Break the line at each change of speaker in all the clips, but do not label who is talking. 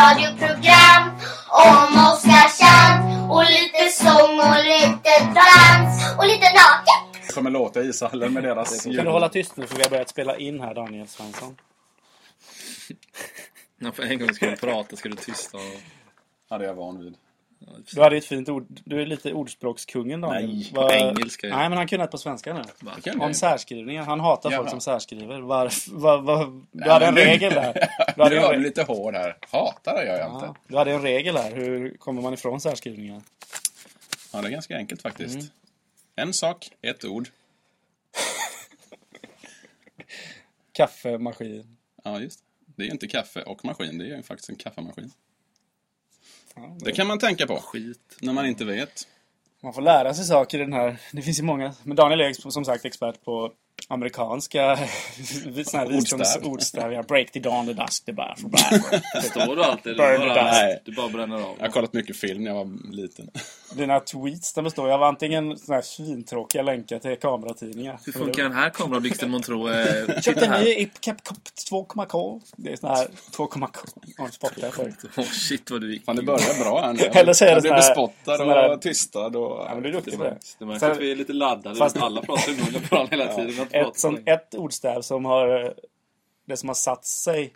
radioprogram om Oskarshamn och lite sång och lite dans och lite naket.
Som en låt i ishallen med deras
Kan du hålla tyst nu för vi har börjat spela in här Daniel Svensson.
Ja, för en gång ska du prata, ska du tysta och...
Ja, det är jag van vid.
Du hade ju ett fint ord. Du är lite ordspråkskungen Daniel.
Nej,
Vad-
engelska ju.
Nej, men han kunde ett på svenska nu.
Va?
Kan
Om särskrivningar. Han hatar
Jaha.
folk som särskriver. Varf, va, va, du hade en regel där. Du
Nu
hade
är
en,
du
re-
lite hård här. Hatar det gör jag
ja,
inte.
du hade en regel här. Hur kommer man ifrån särskrivningar?
Ja, det är ganska enkelt faktiskt.
Mm.
En sak, ett ord.
Kaffemaskin.
Ja, just det. Det är ju inte kaffe och maskin, det är ju faktiskt en kaffemaskin.
Ja,
Det kan man tänka på
Skit.
när man inte vet.
Man får lära sig saker i den här. Det finns ju många. Men Daniel är ex- som sagt expert på amerikanska såna här visdoms- ordstäv. Ja, Break the dawn, the dusk, the bar. For bar.
Står du alltid?
Burn
Du bara,
it down.
du bara bränner av.
Jag har kollat mycket film när jag var liten.
Dina tweets de består ju av antingen såna här svintråkiga länkar till kameratidningar.
Hur funkar den här kameran Blixten Montreux? eh,
Köpte
här?
ni i CapCop 2,k? Det är sån här 2,k. Ja, spottar jag förut.
Åh shit vad du gick
Fan, det börjar bra här nu.
Eller så är det
jag blev
sån här-
bespottad
sån här-
och tystad och...
Ja, men du är duktig på det.
Det märks
Sen-
att vi är lite laddade.
Fast-
Alla pratar i munnen på varandra hela tiden. Vi har inte
Ett,
pratat
som,
länge.
ett ordstäv som har... eh, Det som har satt sig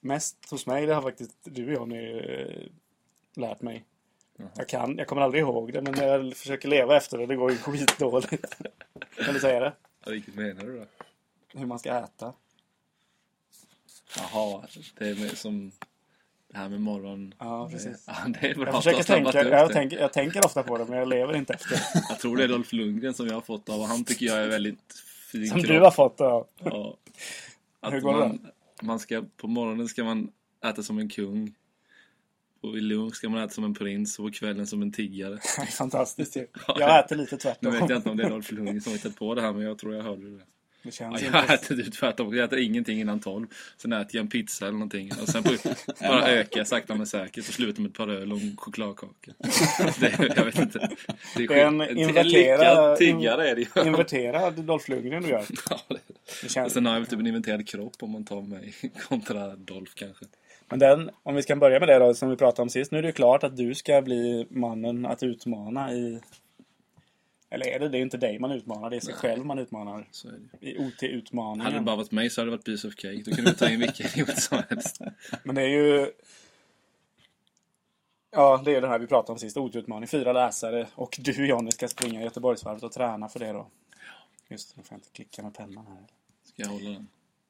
mest hos mig, det har faktiskt du och jag nu eh, lärt mig.
Mhm.
Jag, kan, jag kommer aldrig ihåg det, men när jag försöker leva efter det, det går ju skitdåligt. Kan du säga det?
Ja, Vilket menar du då?
Hur man ska äta.
Jaha, det är med, som det här med morgon...
Ja, precis.
Ja, det är bra
Jag
att du
försöker
har snabbat
tänka,
upp
jag,
det.
tänker, jag tänker ofta på det, men jag lever inte efter det.
Jag tror det är Rolf Lundgren som jag har fått av och han tycker jag är väldigt fin
Som
kropp.
du har fått av.
Ja. Att
Hur går det
man, man ska, På morgonen ska man äta som en kung. Och vid lunch ska man äta som en prins och på kvällen som en tiggare.
Det är Fantastiskt ju. Jag äter lite
Nu
tvärtom.
vet jag inte om det är Rolf Lundgren som har hittat på det här men jag tror jag hörde det.
Det
Ja,
känns
jag
inte.
äter typ tvärtom. Jag äter ingenting innan tolv. Sen äter jag en pizza eller någonting. Och sen på, bara ökar jag sakta men säkert och slutar med ett par öl och en chokladkaka. Det, jag vet inte.
Det är en
skit-
inverterad-
lyckad tiggare är det ju.
Inverterad Dolph Lundgren du gör.
Ja, det-
Det känns.
Sen har jag väl typ en inventerad kropp om man tar mig kontra Dolph kanske.
Men den, om vi ska börja med det då som vi pratade om sist. Nu är det ju klart att du ska bli mannen att utmana i... Eller är det? Det är inte dig man utmanar. Det är sig själv man utmanar.
Så är det. ju.
I
Hade det
OT-utmaningen.
bara varit mig så hade det varit piece of cake. Då kunde vi ta in vilken idiot som helst.
Men det är ju... Ja, det är den här vi pratade om sist. OT-utmaning. Fyra läsare. Och du Johnny ska springa Göteborgsvarvet och träna för det då. Just det, nu får jag inte klicka med pennan här.
Ska jag hålla den?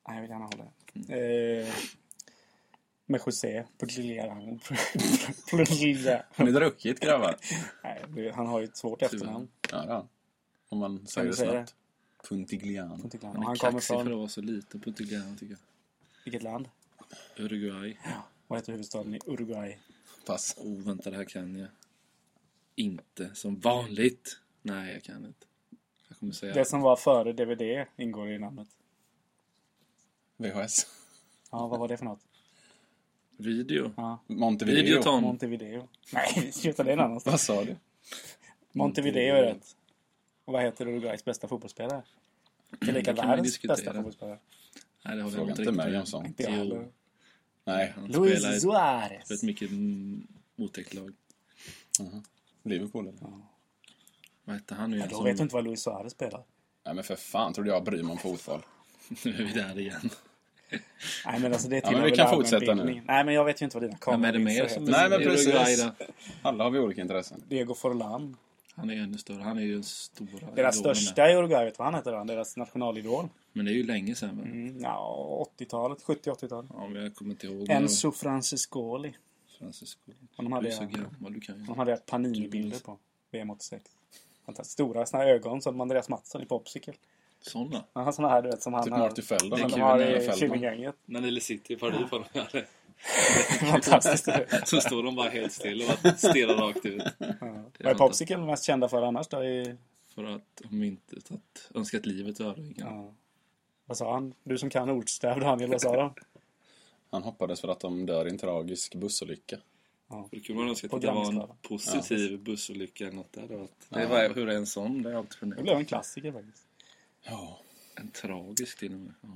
Nej, jag vill gärna hålla det. Eh, med José på Liljeland.
Har ni druckit grabbar?
Nej, det- han har ju ett svårt efternamn.
Ja, det har han. Om man
Kan
säger
du
det
säga det?
snabbt. Puntigliano.
Puntigliano.
Han är
Han kommer
kaxig för att
från
vara så liten på Tigliano tycker
vilket land?
jag. Uruguay.
Vad heter huvudstaden i Uruguay?
Pass.
Oh, vänta, det här kan jag. Inte som vanligt. Nej, jag kan inte. Jag kommer säga...
Det som var före DVD ingår i namnet.
VHS.
Ja, vad var det för något?
Video.
Ja,
Montevideo.
Videoton.
Montevideo. Nej, sluta det är en annan stad.
Vad sa du?
Montevideo är rätt. Och vad heter Uruguays bästa fotbollsspelare? Tillika
Mm, Det kan vi
världens
diskutera.
bästa fotbollsspelare.
Nej, det håller jag
Fråga
inte
inte
riktigt
mig
med
om sånt.
Inte jag
Jo.
heller.
Nej,
Han spelar
Luis
i ett,
Suarez.
ett mycket mm, otäckt lag.
Liverpool eller?
Vad hette han nu igen?
Då
som-
vet du inte vad Luis Suarez spelar.
Nej men för fan, trodde jag bryr mig om fotboll.
Nu är vi där igen.
Nej men alltså det
men
tillhör
vi
väl
kan
allmän
fortsätta nu.
bildning. Nej men jag vet ju inte vad dina
Vem är det
kameror
mer
heter.
som
Nej, men
i Uruguay
precis.
då?
Alla har vi olika intressen.
Diego Forlan.
Han är ju ännu större. Han är ju den stora
Deras
idolen där.
största i Uruguay, vet du vad han heter då? Deras nationalidol.
Men det är ju länge sedan. Men...
Mm, ja, 80-talet, 70-80-talet.
Ja, men jag kommer inte ihåg.
Enzo Francescoli.
Francisco.
Och de hade-
Du är så gammal, du kan ju.
De hade Panini-bilder på VM 86. Fantastiskt. Stora såna här ögon som Andreas Mattsson i Popsicle.
Sådana.
Han har såna här du vet som han
Typ
har-
Marty Feldon.
Det
eller
Som
är
de
kul
har
när
Daniel
i
Feldman.
Killinggänget.
När Lille City i Paris var de där.
Fantastiskt.
Så står de bara helt still och bara stirrar rakt ut.
Vad är Popsicle mest kända för annars då? I,
För att om inte tagit, önskat livet över. Ja.
ja. Vad sa han? Du som kan ordstäv Daniel, vad sa de?
Han hoppades för att de dör i en tragisk bussolycka.
Då kunde man önska att det var en
Programskada.
positiv bussolycka eller något. Där. Det var- Det var, hur är en sån? Det är alltid
Det
för
blev en klassiker faktiskt.
Ja.
En tragisk till och med. Ja.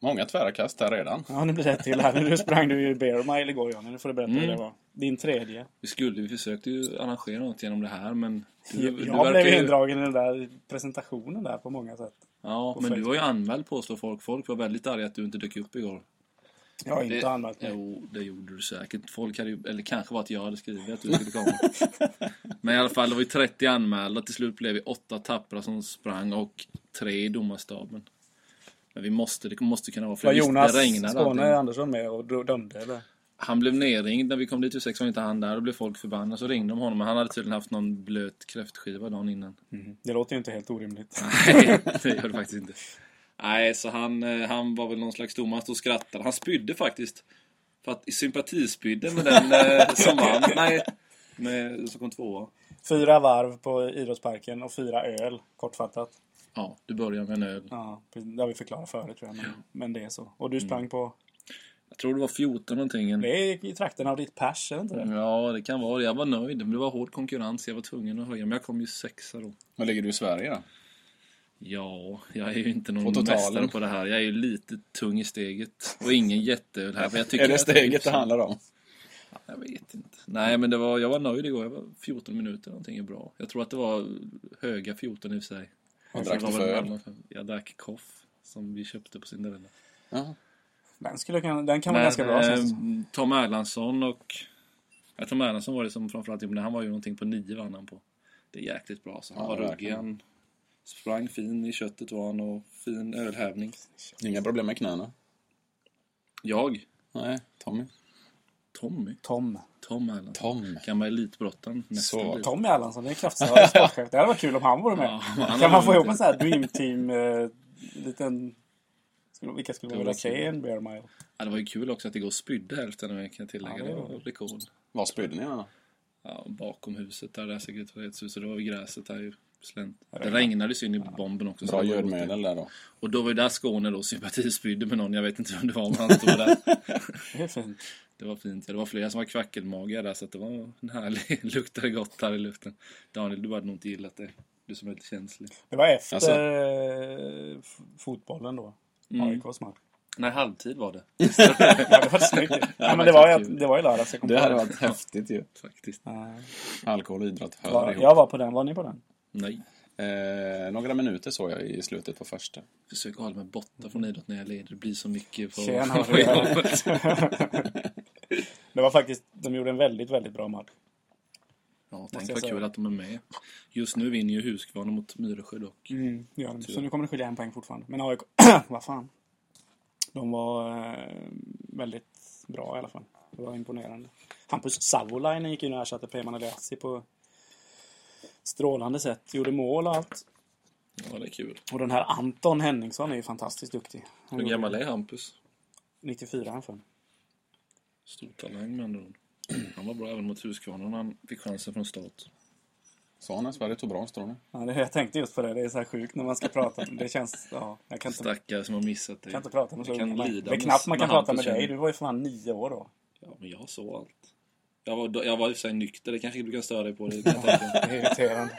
Många tvära kast här redan.
Ja, nu blir det ett till här. Nu sprang du ju Bear Mile igår Johnny. Nu får du berätta hur det
Mm.
var. Din tredje.
Vi skulle, vi försökte ju arrangera något genom det här men... Du,
Jag
du
blev
ju-
indragen i den där presentationen där på många sätt.
Ja,
på
men du
Facebook.
var ju anmäld påstår folk. Folk var väldigt arga att du inte dök upp igår.
Jag har inte anmält mig.
Jo, det gjorde du säkert. Folk hade ju, eller kanske var att jag hade skrivit att du skulle komma. Men i alla fall, det var ju 30 anmälda. Till slut blev vi åtta tappra som sprang och tre i domarstaben. Men vi måste, det måste kunna vara fler.
Var
Visst,
Jonas
det regnade
Skåne
allting.
Andersson med och dö- dömde eller?
Han blev nerringd när vi kom dit vid sex, var inte han där. Då blev folk förbannade. Så ringde de honom, men han hade tydligen haft någon blöt kräftskiva dagen innan.
Det låter ju inte helt orimligt.
Nej, det gör det faktiskt inte. Nej, så han, eh, han var väl någon slags domare. Han stod och skrattade. Han spydde faktiskt. För att sympatispydde med den eh, som vann. Nej, med, som kom tvåa.
Fyra varv på idrottsparken och fyra öl, kortfattat.
Ja, du börjar med en öl.
Ja, det har vi förklarat förut tror jag. Men, men det är så. Och du sprang på...
Jag tror det var 14 någonting.
Det är i trakten av ditt pers, är det inte det?
Ja, det kan vara det. Jag var nöjd. Men det var hård konkurrens. Jag var tvungen att höja. Men jag kom ju sexa då.
Var ligger du i Sverige då?
Ja, jag är ju inte någon
På totalen.
mästare på det här. Jag är ju lite tung i steget. Och ingen jätteöl här. Men jag tycker
Är liksom- det
att- liksom-
steget det handlar om?
Jag vet inte. Nej, men det var, jag var nöjd igår. Jag var 14 minuter någonting är bra. Jag tror att det var höga 14 i och för sig.
Vad drack
Det
du
var
för
väl
öl?
mellan fem- Jag drack koff som vi köpte på Cinderella.
Ja.
Den, skulle, kunna- den kan vara ganska bra.
eh,
känns det som.
Tom Erlandsson och... Ja, Tom Erlandsson var det som framförallt gjorde. Han var ju någonting på nio vann han på. Det är jäkligt bra. Så han
Ja,
var ruggig.
verkligen.
Han sprang fin i köttet var han och fin ölhävning.
Inga problem med knäna?
Jag,
Nej, Tommy.
Tommy,
Tom.
Tom Erlandsson.
Tom.
Gamla elitbrottaren.
Så.
mästare.
Tom Erlandsson, det är kraftstark sportchef. Det hade varit kul om han vore med.
Ja,
kan
han har
man få
inte-
ihop en sån här Dream Team, eh, liten... skulle- Vilka skulle vara
Det var
Kane, Bear Mile?
Ja, det var ju kul också att det går och spydde hälften av kan jag tillägga.
Ja, det
det
var
var rekord.
Var spydde ni varandra?
Ja, bakom huset där, det här sekretariatshuset, det var vid gräset där ju. Slänt. Det regnade ju in i bomben också. så
Bra
det var ju
gödmedel där då.
gott. Och då var ju där Skåne då sympatispydde med någon, jag vet inte vem det var, men han stod där.
Det är fint.
Det var fint. Ja, det var flera som var kvackelmagiga där, så att det var en härlig, luktade gott här i luften. Daniel, du hade nog inte gillat det. Du som är lite känslig.
Det var efter
Alltså-
eh, f- fotbollen då. AIKs match.
Nej, halvtid var det
Ja, det var snyggt. ja, men det
det
var,
var
ju-
kul.
det var ju lördags jag kom
Det
på
hade
det.
varit häftigt ju.
faktiskt.
Ja.
Alkohol och idrott hör
Ja,
ihop.
Jag var på den, var ni på den?
Nej.
Eh, några minuter såg jag i slutet på första.
Försök hålla mig borta från idrott när jag leder. Det blir så mycket på,
Tjena,
på
vad är
jobbet.
Det var faktiskt, de gjorde en väldigt, väldigt bra match.
Ja,
jag
tänk vad
säga.
kul att de är med. Just nu vinner ju Huskvarna mot Myresjö dock.
Mm, det gör de.
Typ.
Så nu kommer det skilja en poäng fortfarande. Men AIK, vad fan. De var eh, väldigt bra i alla fall. Det var imponerande. Hampus Savolainen gick in och ersatte Preman Eliassi på strålande sätt. Gjorde mål och allt.
Ja, det är kul.
Och den här Anton Henningsson är ju fantastiskt duktig. Han
Hur
gjorde
gammal är Hampus?
94 han för mig.
Stor talang med andra ord. Han var bra även mot Huskvarna när han fick chansen från start.
Sa han att Sverige tog bra står det.
Ja, det, jag tänkte just på det. Det är så här sjukt när man ska prata. om- Det känns... Ja, jag kan inte,
Stackare som har missat det.
Alltså, kan inte prata med så
Jag kan
unga.
lida
Det är
med-
knappt man kan
med
prata med
Hampus
dig.
Henning.
Du var ju för fan nio år då.
Ja, men jag såg allt. Jag var, då- jag var i och för sig nykter, det kanske du kan störa dig på. Det, kan jag tänka mig.
Det är irriterande.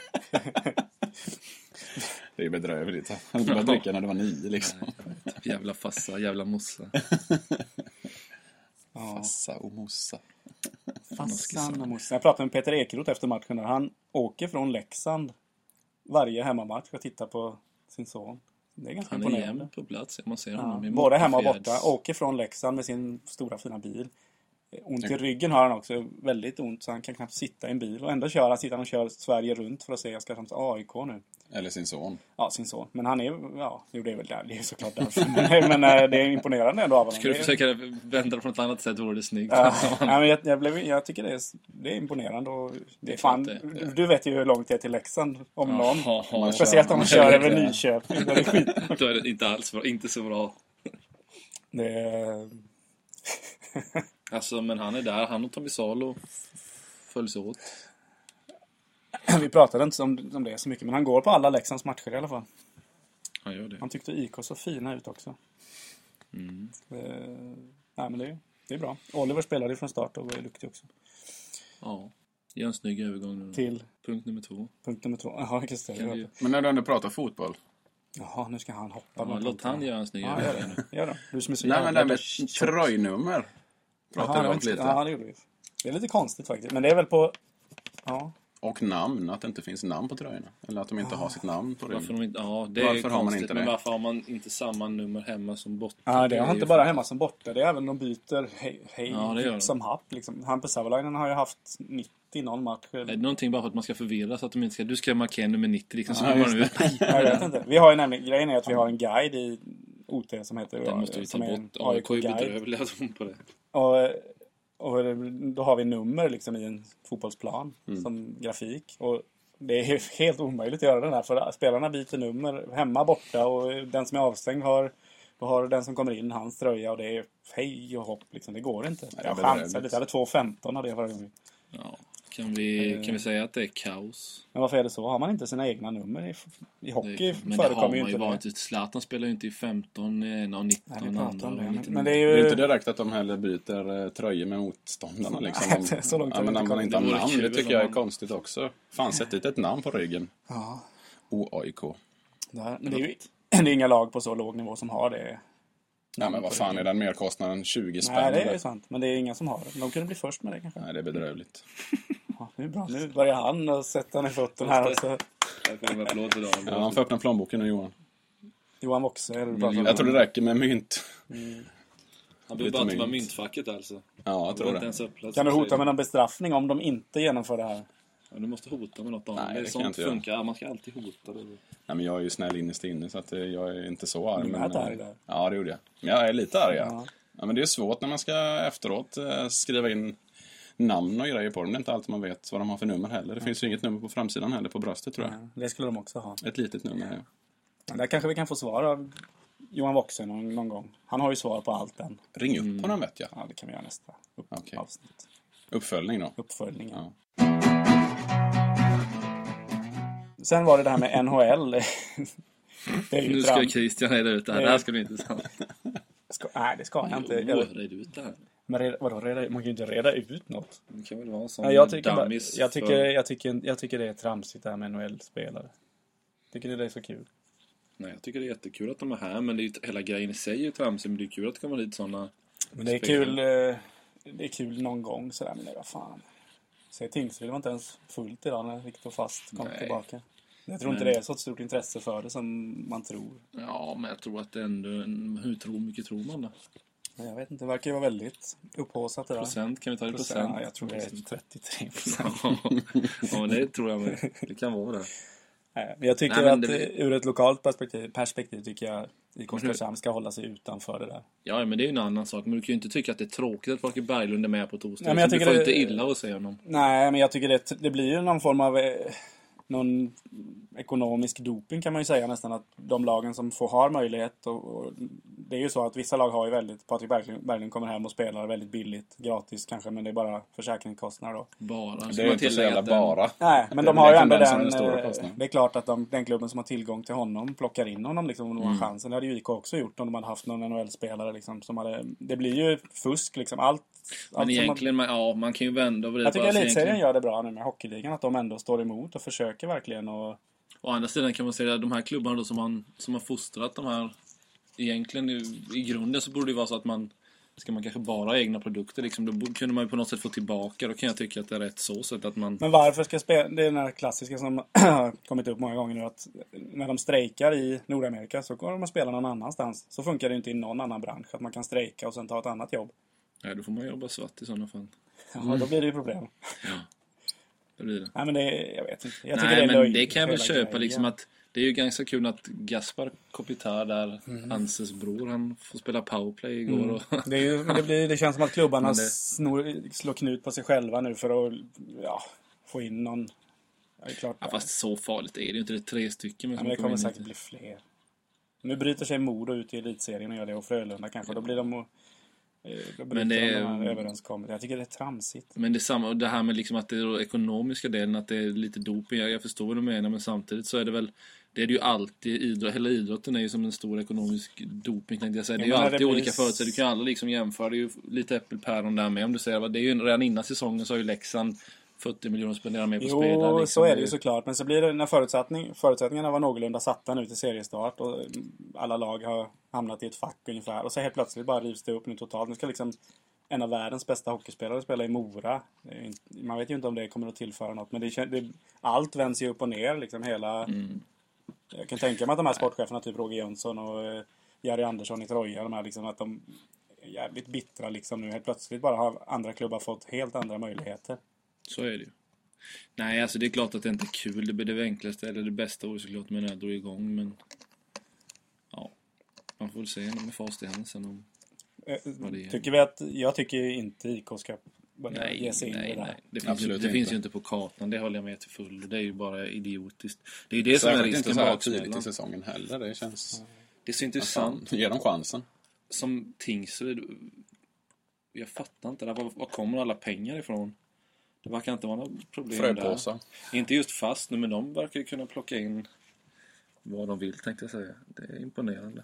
Det är ju bedrövligt. Han började dricka när det var nio liksom.
jävla fassa, jävla mossa.
Ja.
Massa och mossa.
Fassan och morsan. Jag pratade med Peter Ekeroth efter matchen. Där. Han åker från Leksand varje hemmamatch och tittar på sin son. Det är ganska
Han är
imponerande.
jämn på plats. Man ser
Ja.
honom i
Både hemma och borta.
Fjärds.
Åker från Leksand med sin stora fina bil. Eh, Ont i ryggen har han också. Väldigt ont så han kan knappt sitta i en bil. Och ändå kör han. Sitter han och kör Sverige runt för att se. Jag ska fram till AIK nu.
Eller sin son.
Ja, sin son. Men han är... Ja, jo, det är väl där. Det är såklart därför. Men, men eh, det är imponerande ändå av honom.
Ska du
Det är-
försöka vända det på något annat sätt vore det snyggt.
Ja, nej, men jag, jag, blev, jag tycker det är, det är imponerande. Och det är fan,
klart det
Du vet ju hur långt det är till Leksand om någon.
Ja, ja,
Speciellt om man
man
kör
kör
över
lite.
Nyköping. Det är skit.
Då är det inte alls bra. Inte så bra.
Det är,
Alltså, men han är där. Han och Tommy Salo följs åt.
vi pratade inte om, om det så mycket, men han går på alla Leksands matcher i alla fall.
Han gör det.
Han tyckte IK så fina ut också.
Mm.
Eh, nej, men det, är- det är bra. Oliver spelade ju från start och är duktig också.
Ja. Gör en snygg övergång nu. då.
Till
Punkt nummer två.
punkt nummer två. Ja, just det.
Kan du-
Men när du ändå pratar fotboll.
Jaha, nu ska han hoppa.
Ja,
bland
låt han
plantorna.
göra en snygg
Ja, gör
övergång.
det. Gör det. Du som är så
Nej, men det här med
tjock.
tröjnummer
Jaha,
pratade vi om
inte-
lite.
Ja, det gjorde vi. Det är lite konstigt faktiskt. Men det är väl på... Ja.
Och namn, att det inte finns namn på tröjorna. Eller att de inte har sitt namn på
Varför,
ryggen.
de inte, ja, det är
Varför har man
konstigt,
inte
men
det?
varför har man inte samma nummer hemma som borta?
Ja, det har
är
inte
ju
bara
fan-
hemma som borta. Det är även de byter hej, hej
Ja, det gör de.
som happ. Liksom. Hampus Savolainen har ju haft 90 någon match.
Är det någonting bara för att man ska förvirra så att de inte ska... Du ska markera nummer 90 liksom. Så
Ja,
ja,
just
nu.
Jag vet inte. Vi har ju nämligen, grejen är att vi har en guide i OT som heter...
Den måste vi ta
som är en
bort. AIK är ju
AIK-guide.
bedrövliga de på det.
Och, och då har vi nummer liksom i en fotbollsplan som grafik. Och det är ju helt omöjligt att göra den här för spelarna byter nummer hemma borta och den som är avstängd har då har den som kommer in hans tröja och det är hej och hopp liksom. Det går inte.
det är
jag
bedrövligt.
chansade lite. Jag hade 2.15 hade jag varje gång.
Ja. Kan
Eh.
vi, kan vi säga att det är kaos?
Men varför är det så? Har man inte sina egna nummer? I, i
Det är-
hockey
men det har
förekommer
man
ju inte
ju
det.
vanligtvis. Zlatan spelar ju inte i 15, eh, någon 19,
Nej, vi pratar om
andra,
det. Men,
19.
men det är
Det är
ju...
inte direkt att de heller byter eh, tröjor med motståndarna. Liksom.
Nej, det är så långt
ja,
har
men
vi inte
att man
kommit.
inte har
Det vore
namn,
kul liksom.
det tycker
om
jag är
man-
konstigt också. Fan, sätt dit ett namn på ryggen.
Ja,
OAIK.
det, här, men det, är ju, det är ju inga lag på så låg nivå som har det.
Nej, men vad fan är den merkostnaden? 20 spänn?
Nej, det är
eller?
ju sant. Men det är inga som har det. De kunde bli först med det kanske.
Nej, det är bedrövligt.
Ja, det är bra. Nu börjar han att sätta ner foten här också.
Där får vi en applåd till Daniel.
Ja, han får öppna plånboken nu, Johan.
Johan Woxe är det du pratar om.
Mm, Jag tror det räcker med mynt.
Han behöver
Lite
bara inte vara
mynt.
myntfacket alltså.
Ja, jag tror
Inte
det.
ens öppnat,
Kan du
som
hota
säger.
med någon bestraffning om de inte genomför det här?
Ja, du måste hota med något Daniel.
Nej,
det är
det kan
sånt
jag inte göra.
funkar. Ja, Man ska alltid hota. Det.
Nej, men jag är ju snäll innerst inne, så att eh, jag är inte så arg.
Du
men,
lät
eh,
arg där.
Ja, det gjorde jag. Men jag är lite arg, ja.
Ja.
ja men det är svårt när man ska efteråt eh, skriva in namn och grejer på dem. Det är inte alltid man vet vad de har för nummer heller. Det finns ju inget nummer på framsidan heller, på bröstet tror jag.
Det skulle de också ha.
Ett litet nummer, ja.
Men Där kanske vi kan få svar av Johan Woxe någon, någon gång. Han har ju svar på allt än.
Ring upp
Mm.
honom vet jag.
Ja, det kan vi göra nästa upp-
Okej.
avsnitt.
Uppföljning då.
Uppföljningen.
Ja.
Sen var det det här med NHL. det är
Nu
ju
ska
fram...
Christian reda ut det här. Det här ska bli intressant.
Ska... Nej, det ska jag inte.
Jo,
Jag...
red ut det här.
Men reda... vadå, reda... man kan ju inte reda ut något.
Det kan väl vara en sån
Nej, jag, tycker bara,
dummies
jag, tycker,
för-
jag, tycker, jag tycker det är tramsigt det här med NHL-spelare. Tycker ni det är så kul?
Nej, jag tycker det är jättekul att de är här, men det är ju, hela grejen i sig är ju tramsig. Men det är kul att det kommer dit såna...
Men det är
Spegel.
kul, eh, det är kul någon gång sådär, men det var fan. Säg Tingsryd, det var inte ens fullt idag när Viktor Fast kom
Nej.
tillbaka. Jag tror
Men-
inte det är så ett stort intresse för det som man tror.
Ja, men jag tror att det ändå... Hur tror, mycket tror man då?
Men jag vet inte, det verkar ju vara väldigt upphaussat det där.
Procent? Kan vi ta det i procent?
Ja, jag tror det är 33 procent.
ja, men det tror jag med. Det kan vara det.
Nej, men Jag tycker
Nej, men
att
det-
eh, ur ett lokalt perspektiv, perspektiv tycker jag IK Oskarshamn ska hålla sig utanför det där.
Ja, men det är ju en annan sak. Men du kan ju inte tycka att det är tråkigt att Folke Berglund är med på torsdag.
Nej, men jag
Så du
tycker
får
det-
inte illa att se honom.
Nej, men jag tycker det, det blir ju någon form av eh, någon ekonomisk doping kan man ju säga nästan att de lagen som får har möjlighet och, och det är ju så att vissa lag har ju väldigt Patrik Berglund, Berglund kommer hem och spelar väldigt billigt gratis kanske men det är bara försäkringskostnader då.
Bara.
Det
Ska
är
man
ju inte så
tillägga
jävla
att den-
bara.
Nej, men
Det är
de har ju
den
ändå
tendensen, den
den...
stora
eh,
kostnaden.
det är klart att de, den klubben som har tillgång till honom plockar in honom liksom, om de har
Mm.
chansen. Det hade ju IK också gjort om de hade haft någon NHL-spelare liksom, som hade... Det blir ju fusk liksom. Allt... allt
Men
som man-
egentligen, man... ja, man kan ju vända och vrida
Jag
på
tycker
det. Så
elitserien
egentligen-
gör det bra nu med hockeyligan, att de ändå står emot och försöker verkligen och...
Å andra sidan kan man säga att de här klubbarna då som, man, som har fostrat de här... Egentligen i, i grunden så borde det ju vara så att man... Ska man kanske bara ha egna produkter liksom, då bo- kunde man ju på något sätt få tillbaka. Då kan jag tycka att det är rätt så sätt att man...
Men varför ska spela... Det är den här klassiska som har kommit upp många gånger nu att när de strejkar i Nordamerika så går de och spelar någon annanstans. Så funkar det ju inte i någon annan bransch att man kan strejka och sen ta ett annat jobb.
Nej, då får man jobba svart i sådana fall.
Ja,
Mm.
då blir det ju problem.
Det blir det.
Nej men det... Jag vet inte. Jag tycker
Nej,
det är
men
löjligt,
det kan jag väl
hela
köpa
grejen.
liksom att... Det är ju ganska kul att Gaspar Kopitar där, Anses bror, han får spela powerplay igår och...
Det, är ju, men det, blir, det känns som att klubbarna
Men det-
snor, slår knut på sig själva nu för att ja, få in någon. Ja, det är klart.
Ja, fast så farligt är det ju inte. Det är tre stycken.
Ja,
som
men det
kommer
kommer
in
säkert
hit.
bli fler. Nu bryter sig Modo ut i elitserien och gör det och Frölunda kanske. Då blir de och, eh, då bryter
det
de
är-
de här överenskommelserna. Jag tycker det är tramsigt.
Men det, är samma, och det här med liksom att det är då ekonomiska delen, att det är lite doping. Jag, jag förstår vad du menar, men samtidigt så är det väl... Det är det ju alltid. Idrott, hela idrotten är ju som en stor ekonomisk doping, tänkte jag säga. Det är ju
men när
alltid
det blir-
olika förutsättningar. Du kan ju aldrig liksom jämföra. Det är ju lite äppelpäron där med. Om du säger, vad- det är ju redan innan säsongen så har ju Leksand 40 miljoner spenderar mer på
Jo,
spelare. liksom.
så är det ju såklart. Men så blir det när förutsättning, förutsättningarna var någorlunda satta nu till seriestart och alla lag har hamnat i ett fack ungefär. Och så helt plötsligt bara rivs det upp nu totalt. Nu ska liksom en av världens bästa hockeyspelare spela i Mora. Det är ju inte- Man vet ju inte om det kommer att tillföra något. Men det, kän- det, allt vänds ju upp och ner. Liksom hela, Jag kan tänka mig att de här sportcheferna, typ Roger Jönsson och eh, Jerry Andersson i Troja, de här liksom att de är jävligt bittra liksom nu. Helt plötsligt bara har andra klubbar fått helt andra möjligheter.
Så är det ju. Nej, alltså det är klart att det inte är kul. Det blir det enklaste eller det bästa vore såklart med när jag drog igång, men... Ja. Man får väl se med fast i hand sen om...
Eh,
det är.
Tycker vi att, jag tycker ju inte IK ska börja
Nej,
ge sig in i
nej,
det där.
nej. Det, finns ju,
Absolut
det finns
inte.
ju inte på kartan, det håller jag med till fullo. Det är ju bara idiotiskt. Det är ju det som är
Särskilt inte
risken
så här
baksmällan.
tidigt i säsongen heller. Det känns...
Det är så
Fan,
intressant.
ge dem chansen.
Som Tingsryd. Jag fattar inte. Där, var, var kommer alla pengar ifrån? Det verkar inte vara några problem
Fröpåsar.
där. Inte just fast nu, men de verkar ju kunna plocka in vad de vill tänkte jag säga. Det är imponerande.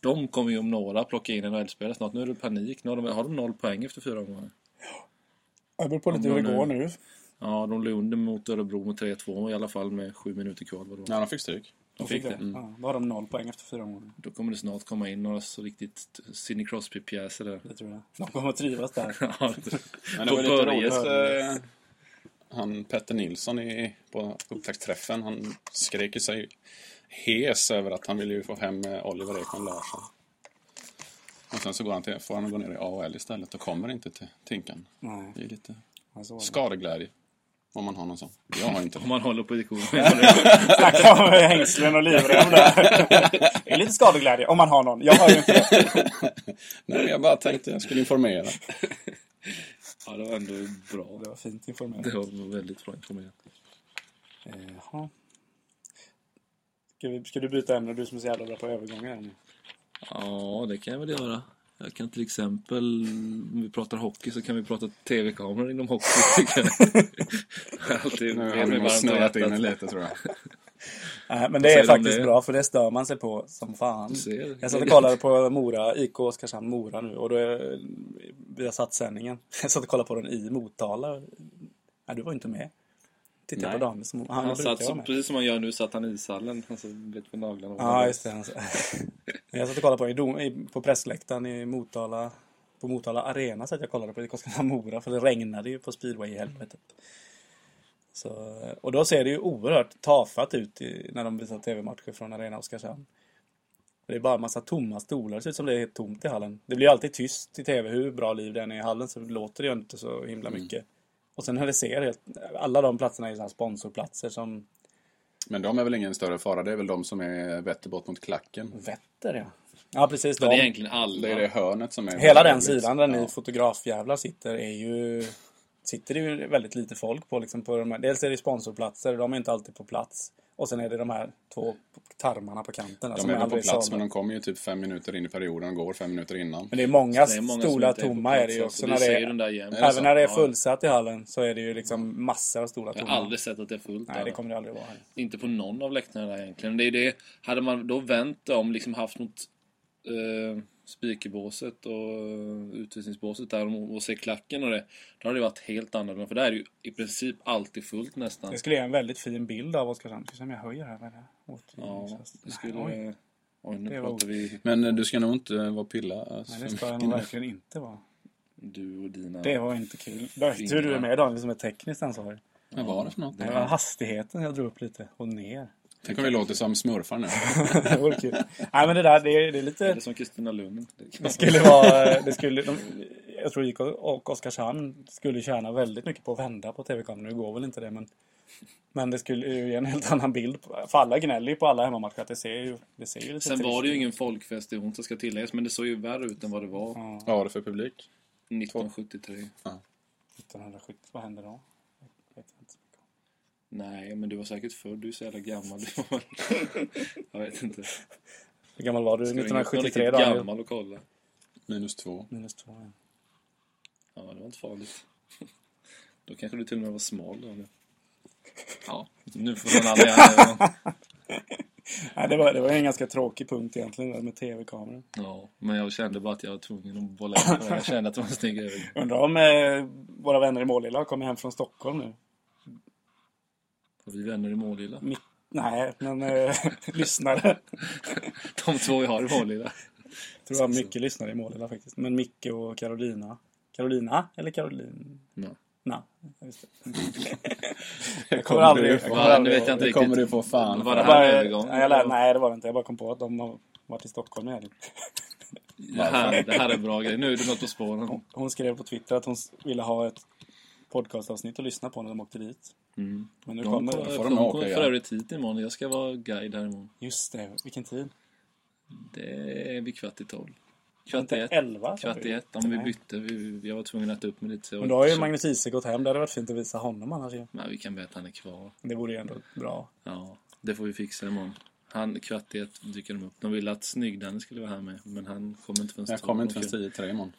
De kommer ju om några plocka in NHL-spelare snart. Nu är det panik. Nu har de, har de noll poäng efter fyra omgångar.
Det beror på lite hur
Om
det
de
går
nu-
nu.
Ja, de låg under mot Örebro med 3-2 i alla fall med sju minuter kvar. Vadå?
Ja, de fick stryk.
de fick det. mm.
Ja, då har de noll poäng efter fyra omgångar.
Då kommer det snart komma in några så riktigt Sidney Crosby-pjäser där.
Det tror jag. De kommer att trivas där.
Ja,
Men det var
på
ju lite
Börjes.
roligt. eh, Han Petter Nilsson i, på upptaktsträffen, han skrek ju sig hes över att han ville ju få hem eh, Oliver Ekman Larsson. Och sen så går han till, får han gå ner i AHL istället och kommer inte till Tinkan.
Nej,
Det är lite
jag såg det.
skadeglädje. Om man har någon sån. Jag har inte
Om
det.
man håller på edition.
Snacka om hängslen och livrem där. Det är lite skadeglädje, om man har någon. Jag har ju inte det.
Nej, jag bara tänkte jag skulle informera.
ja, det var ändå bra.
Det var fint informerat.
Det var väldigt bra informerat.
Jaha. Ska, vi, ska du byta ämne, du som är så jävla bra på övergångar? här nu.
Ja, det kan jag väl göra. Jag kan till exempel, om vi pratar hockey så kan vi prata tv-kameror inom hockey. tycker jag. Alltid
Nu
med
har
mig
de
varmt om
snurrat in
hjärtat.
lite tror jag.
Nej, Eh, men
Vad
det
säger
är
du om
faktiskt
det?
bra för det stör man sig på som fan.
ser.
Jag satt och kollade på Mora, IK Oskarshamn Mora nu och då är, vi har satt sändningen. Jag satt och kollade på den i Motala. Nej, du var ju inte med. Tittade
Nej.
på Daniel som han,
Han
brukar
satt,
vara
som,
med.
precis som han gör nu, satt han i ishallen. Alltså, vet på naglarna.
Ja, just det. han sa- jag satt och kollade på, i dom- i, på pressläktaren i Motala. På Motala Arena satt jag och kollade på IK Oskarshamn Mora för det regnade ju på speedway i helvetet. Så, och då ser det ju oerhört tafatt ut i, när de visar tv-matcher från Arena Oskarshamn. Det är bara en massa tomma stolar. Det ser ut som det är helt tomt i hallen. Det blir ju alltid tyst i tv. Hur bra liv den är i hallen så låter det ju inte så himla
Mm.
mycket. Och sen när det ser helt... Alla de platserna är ju så här sponsorplatser som
Men de är väl ingen större fara. Det är väl de som är vetter bort mot klacken.
Vätter, ja. Ja, precis.
Men det är
De.
egentligen alla.
Det är det hörnet som är...
Hela den
väldigt-
sidan där ni
Ja.
fotografjävlar sitter är ju... Sitter det ju väldigt lite folk på liksom på de här. Dels är det sponsorplatser, de är inte alltid på plats. Och sen är det de här två tarmarna på kanten. där
De
som
är väl på
aldrig
plats,
sålda.
men de kommer ju typ fem minuter in i perioden och går fem minuter innan.
Men det är många,
Det är många som
stolar
inte är på
tomma
plats,
är det ju också.
alltså. Du
När det
ser
är,
ju den där jämt.
Är det
även när det är
Ja.
fullsatt i hallen så är det ju liksom massor av stolar
Jag
tomma.
har aldrig sett att det är fullt
Nej,
där.
det kommer det aldrig vara. här.
Inte på någon av läktarna där egentligen. Det är ju det. Hade man då vänt om, liksom haft mot eh, spikerbåset och eh, utvisningsbåset där och, och se klacken och det. Då hade det varit helt annorlunda. För där är det ju i princip alltid fullt nästan.
Det skulle ge en väldigt fin bild av Oskarshamn. Ska se om jag höjer här. Vad är det?
Ja,
Återljus.
det skulle...
Mm, Nej, oj.
Oj, nu
Det var
pratar vi
Men eh, du ska nog inte eh, vara pilla. Alltså.
Nej, det ska jag nog verkligen inte vara.
du och dina...
Det var inte kul. Det var tur du är med Daniel som är tekniskt ansvarig.
Vad var det för något?
Det var hastigheten jag drog upp lite och ner.
Tänk om vi låter som smurfar nu.
det vore kul. Nej men det där, det är, det är
Är
lite...
det som Kristina Lund?
Det skulle vara... Det skulle, de, jag tror IK och Oskarshamn skulle tjäna väldigt mycket på att vända på TV-kameran. Nu går väl inte det men... Men det skulle ju ge en helt annan bild. på- För alla gnäller ju på alla hemmamatcher. att Det ser ju, det ser ju lite
Sen var
trist
det ju
ut.
ingen folkfest i onsdags ska tilläggas, men det såg ju värre ut än vad det var
Ja,
Vad var det för publik?
1973.
1970. Vad hände då? Jag vet inte.
Nej, men du var säkert född. Du är så jävla gammal. Du var... Jag vet inte.
Hur gammal var du?
Ska ringa upp någon
1973
riktigt
Daniel?
gammal och kolla.
Minus två.
Minus två. ja.
Ja, det var inte farligt. Då kanske du till och med var smal då. nu. Ja, nu får man aldrig göra det.
Nej, det var, det var en ganska tråkig punkt egentligen det där med TV-kameran.
Ja, men jag kände bara att jag var tvungen att bolla in på det. Jag kände att det var en snygg övergång.
Undrar om eh, våra vänner i Målilla har kommit hem från Stockholm nu.
Har vi vänner i Målilla?
Mitt, nej, men eh, lyssnare.
De två vi har i Målilla.
Jag tror jag har mycket lyssnare i Målilla faktiskt. Men Micke och Carolina. Carolina eller Karolin?
No.
Nej, just det.
Jag
kommer aldrig-
du få-
jag
Ja, nu vet jag inte
Det
riktigt.
kommer du få fan.
Var det
Jag
här en
bara,
övergång?
nej, jag lär, nej, det var det inte. Jag bara kom på att de har varit i Stockholm i helgen.
Det här, det här är bra grej. Nu är du något på spåren.
Hon skrev på Twitter att hon s- ville ha ett podcastavsnitt att lyssna på när de åkte dit.
Mm.
Men nu
De
kommer
kommer,
får de
de
åka
kommer
igen.
för övrigt hit imorgon. Jag ska vara guide här imorgon.
Just det, vilken tid?
Det är vid kvart i tolv. Kvart i
Inte
ett.
elva? sa
Kvart
du?
i ett. Om vi
Nej.
bytte. Vi, jag var tvungen att äta upp mig lite. så jag
Men då har ju
köpte-
Magnus Isak gått hem. Det hade varit fint att visa honom annars ju.
Nej, vi kan be att han är kvar.
Det vore ju ändå bra.
Ja, det får vi fixa imorgon. Han, kvart i ett dyker de upp. De ville att snygg skulle vara här med, men han kommer inte förrän
Jag
två.
kommer inte
De
förrän tio, tre imorgon.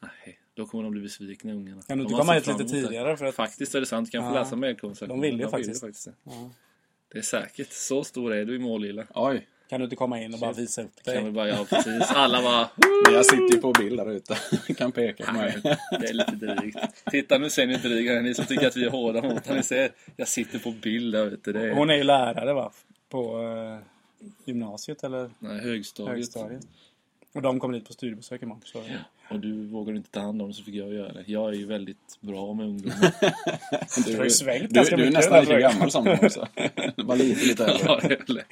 kan- Nej, då kommer de bli besvikna ungarna.
Kan du inte
De har
komma
sett
hit lite
fram emot det.
tidigare? För att,
Faktiskt är det sant. Kan jag få
Ja.
läsa mer konversation?
De vill ju
ju
faktiskt.
det. Det är säkert. Så stor är du i Målilla.
Oj,
Kan du inte komma in och bara visa upp
Kan vi
dig?
bara, ja precis. Alla bara...
men jag sitter ju på bild där ute. Du kan peka på mig.
Det är lite drygt. Titta nu ser ni inte dryga ni som tycker att vi är hårda mot honom. Ni ser, jag sitter på bild där ute. Det är
Hon är ju lärare va? På eh, gymnasiet eller
nej, högstadiet.
högstadiet. Och de kommer hit på studiebesök imorgon. Så.
Och du vågar inte ta hand om det så fick jag göra det. Jag är ju väldigt bra med ungdomar.
Du,
har ju svängt
du,
ganska
du är
mycket
nästan
i den här
lika gammal som dem också. Bara lite, lite äldre.
Ja, det är väl-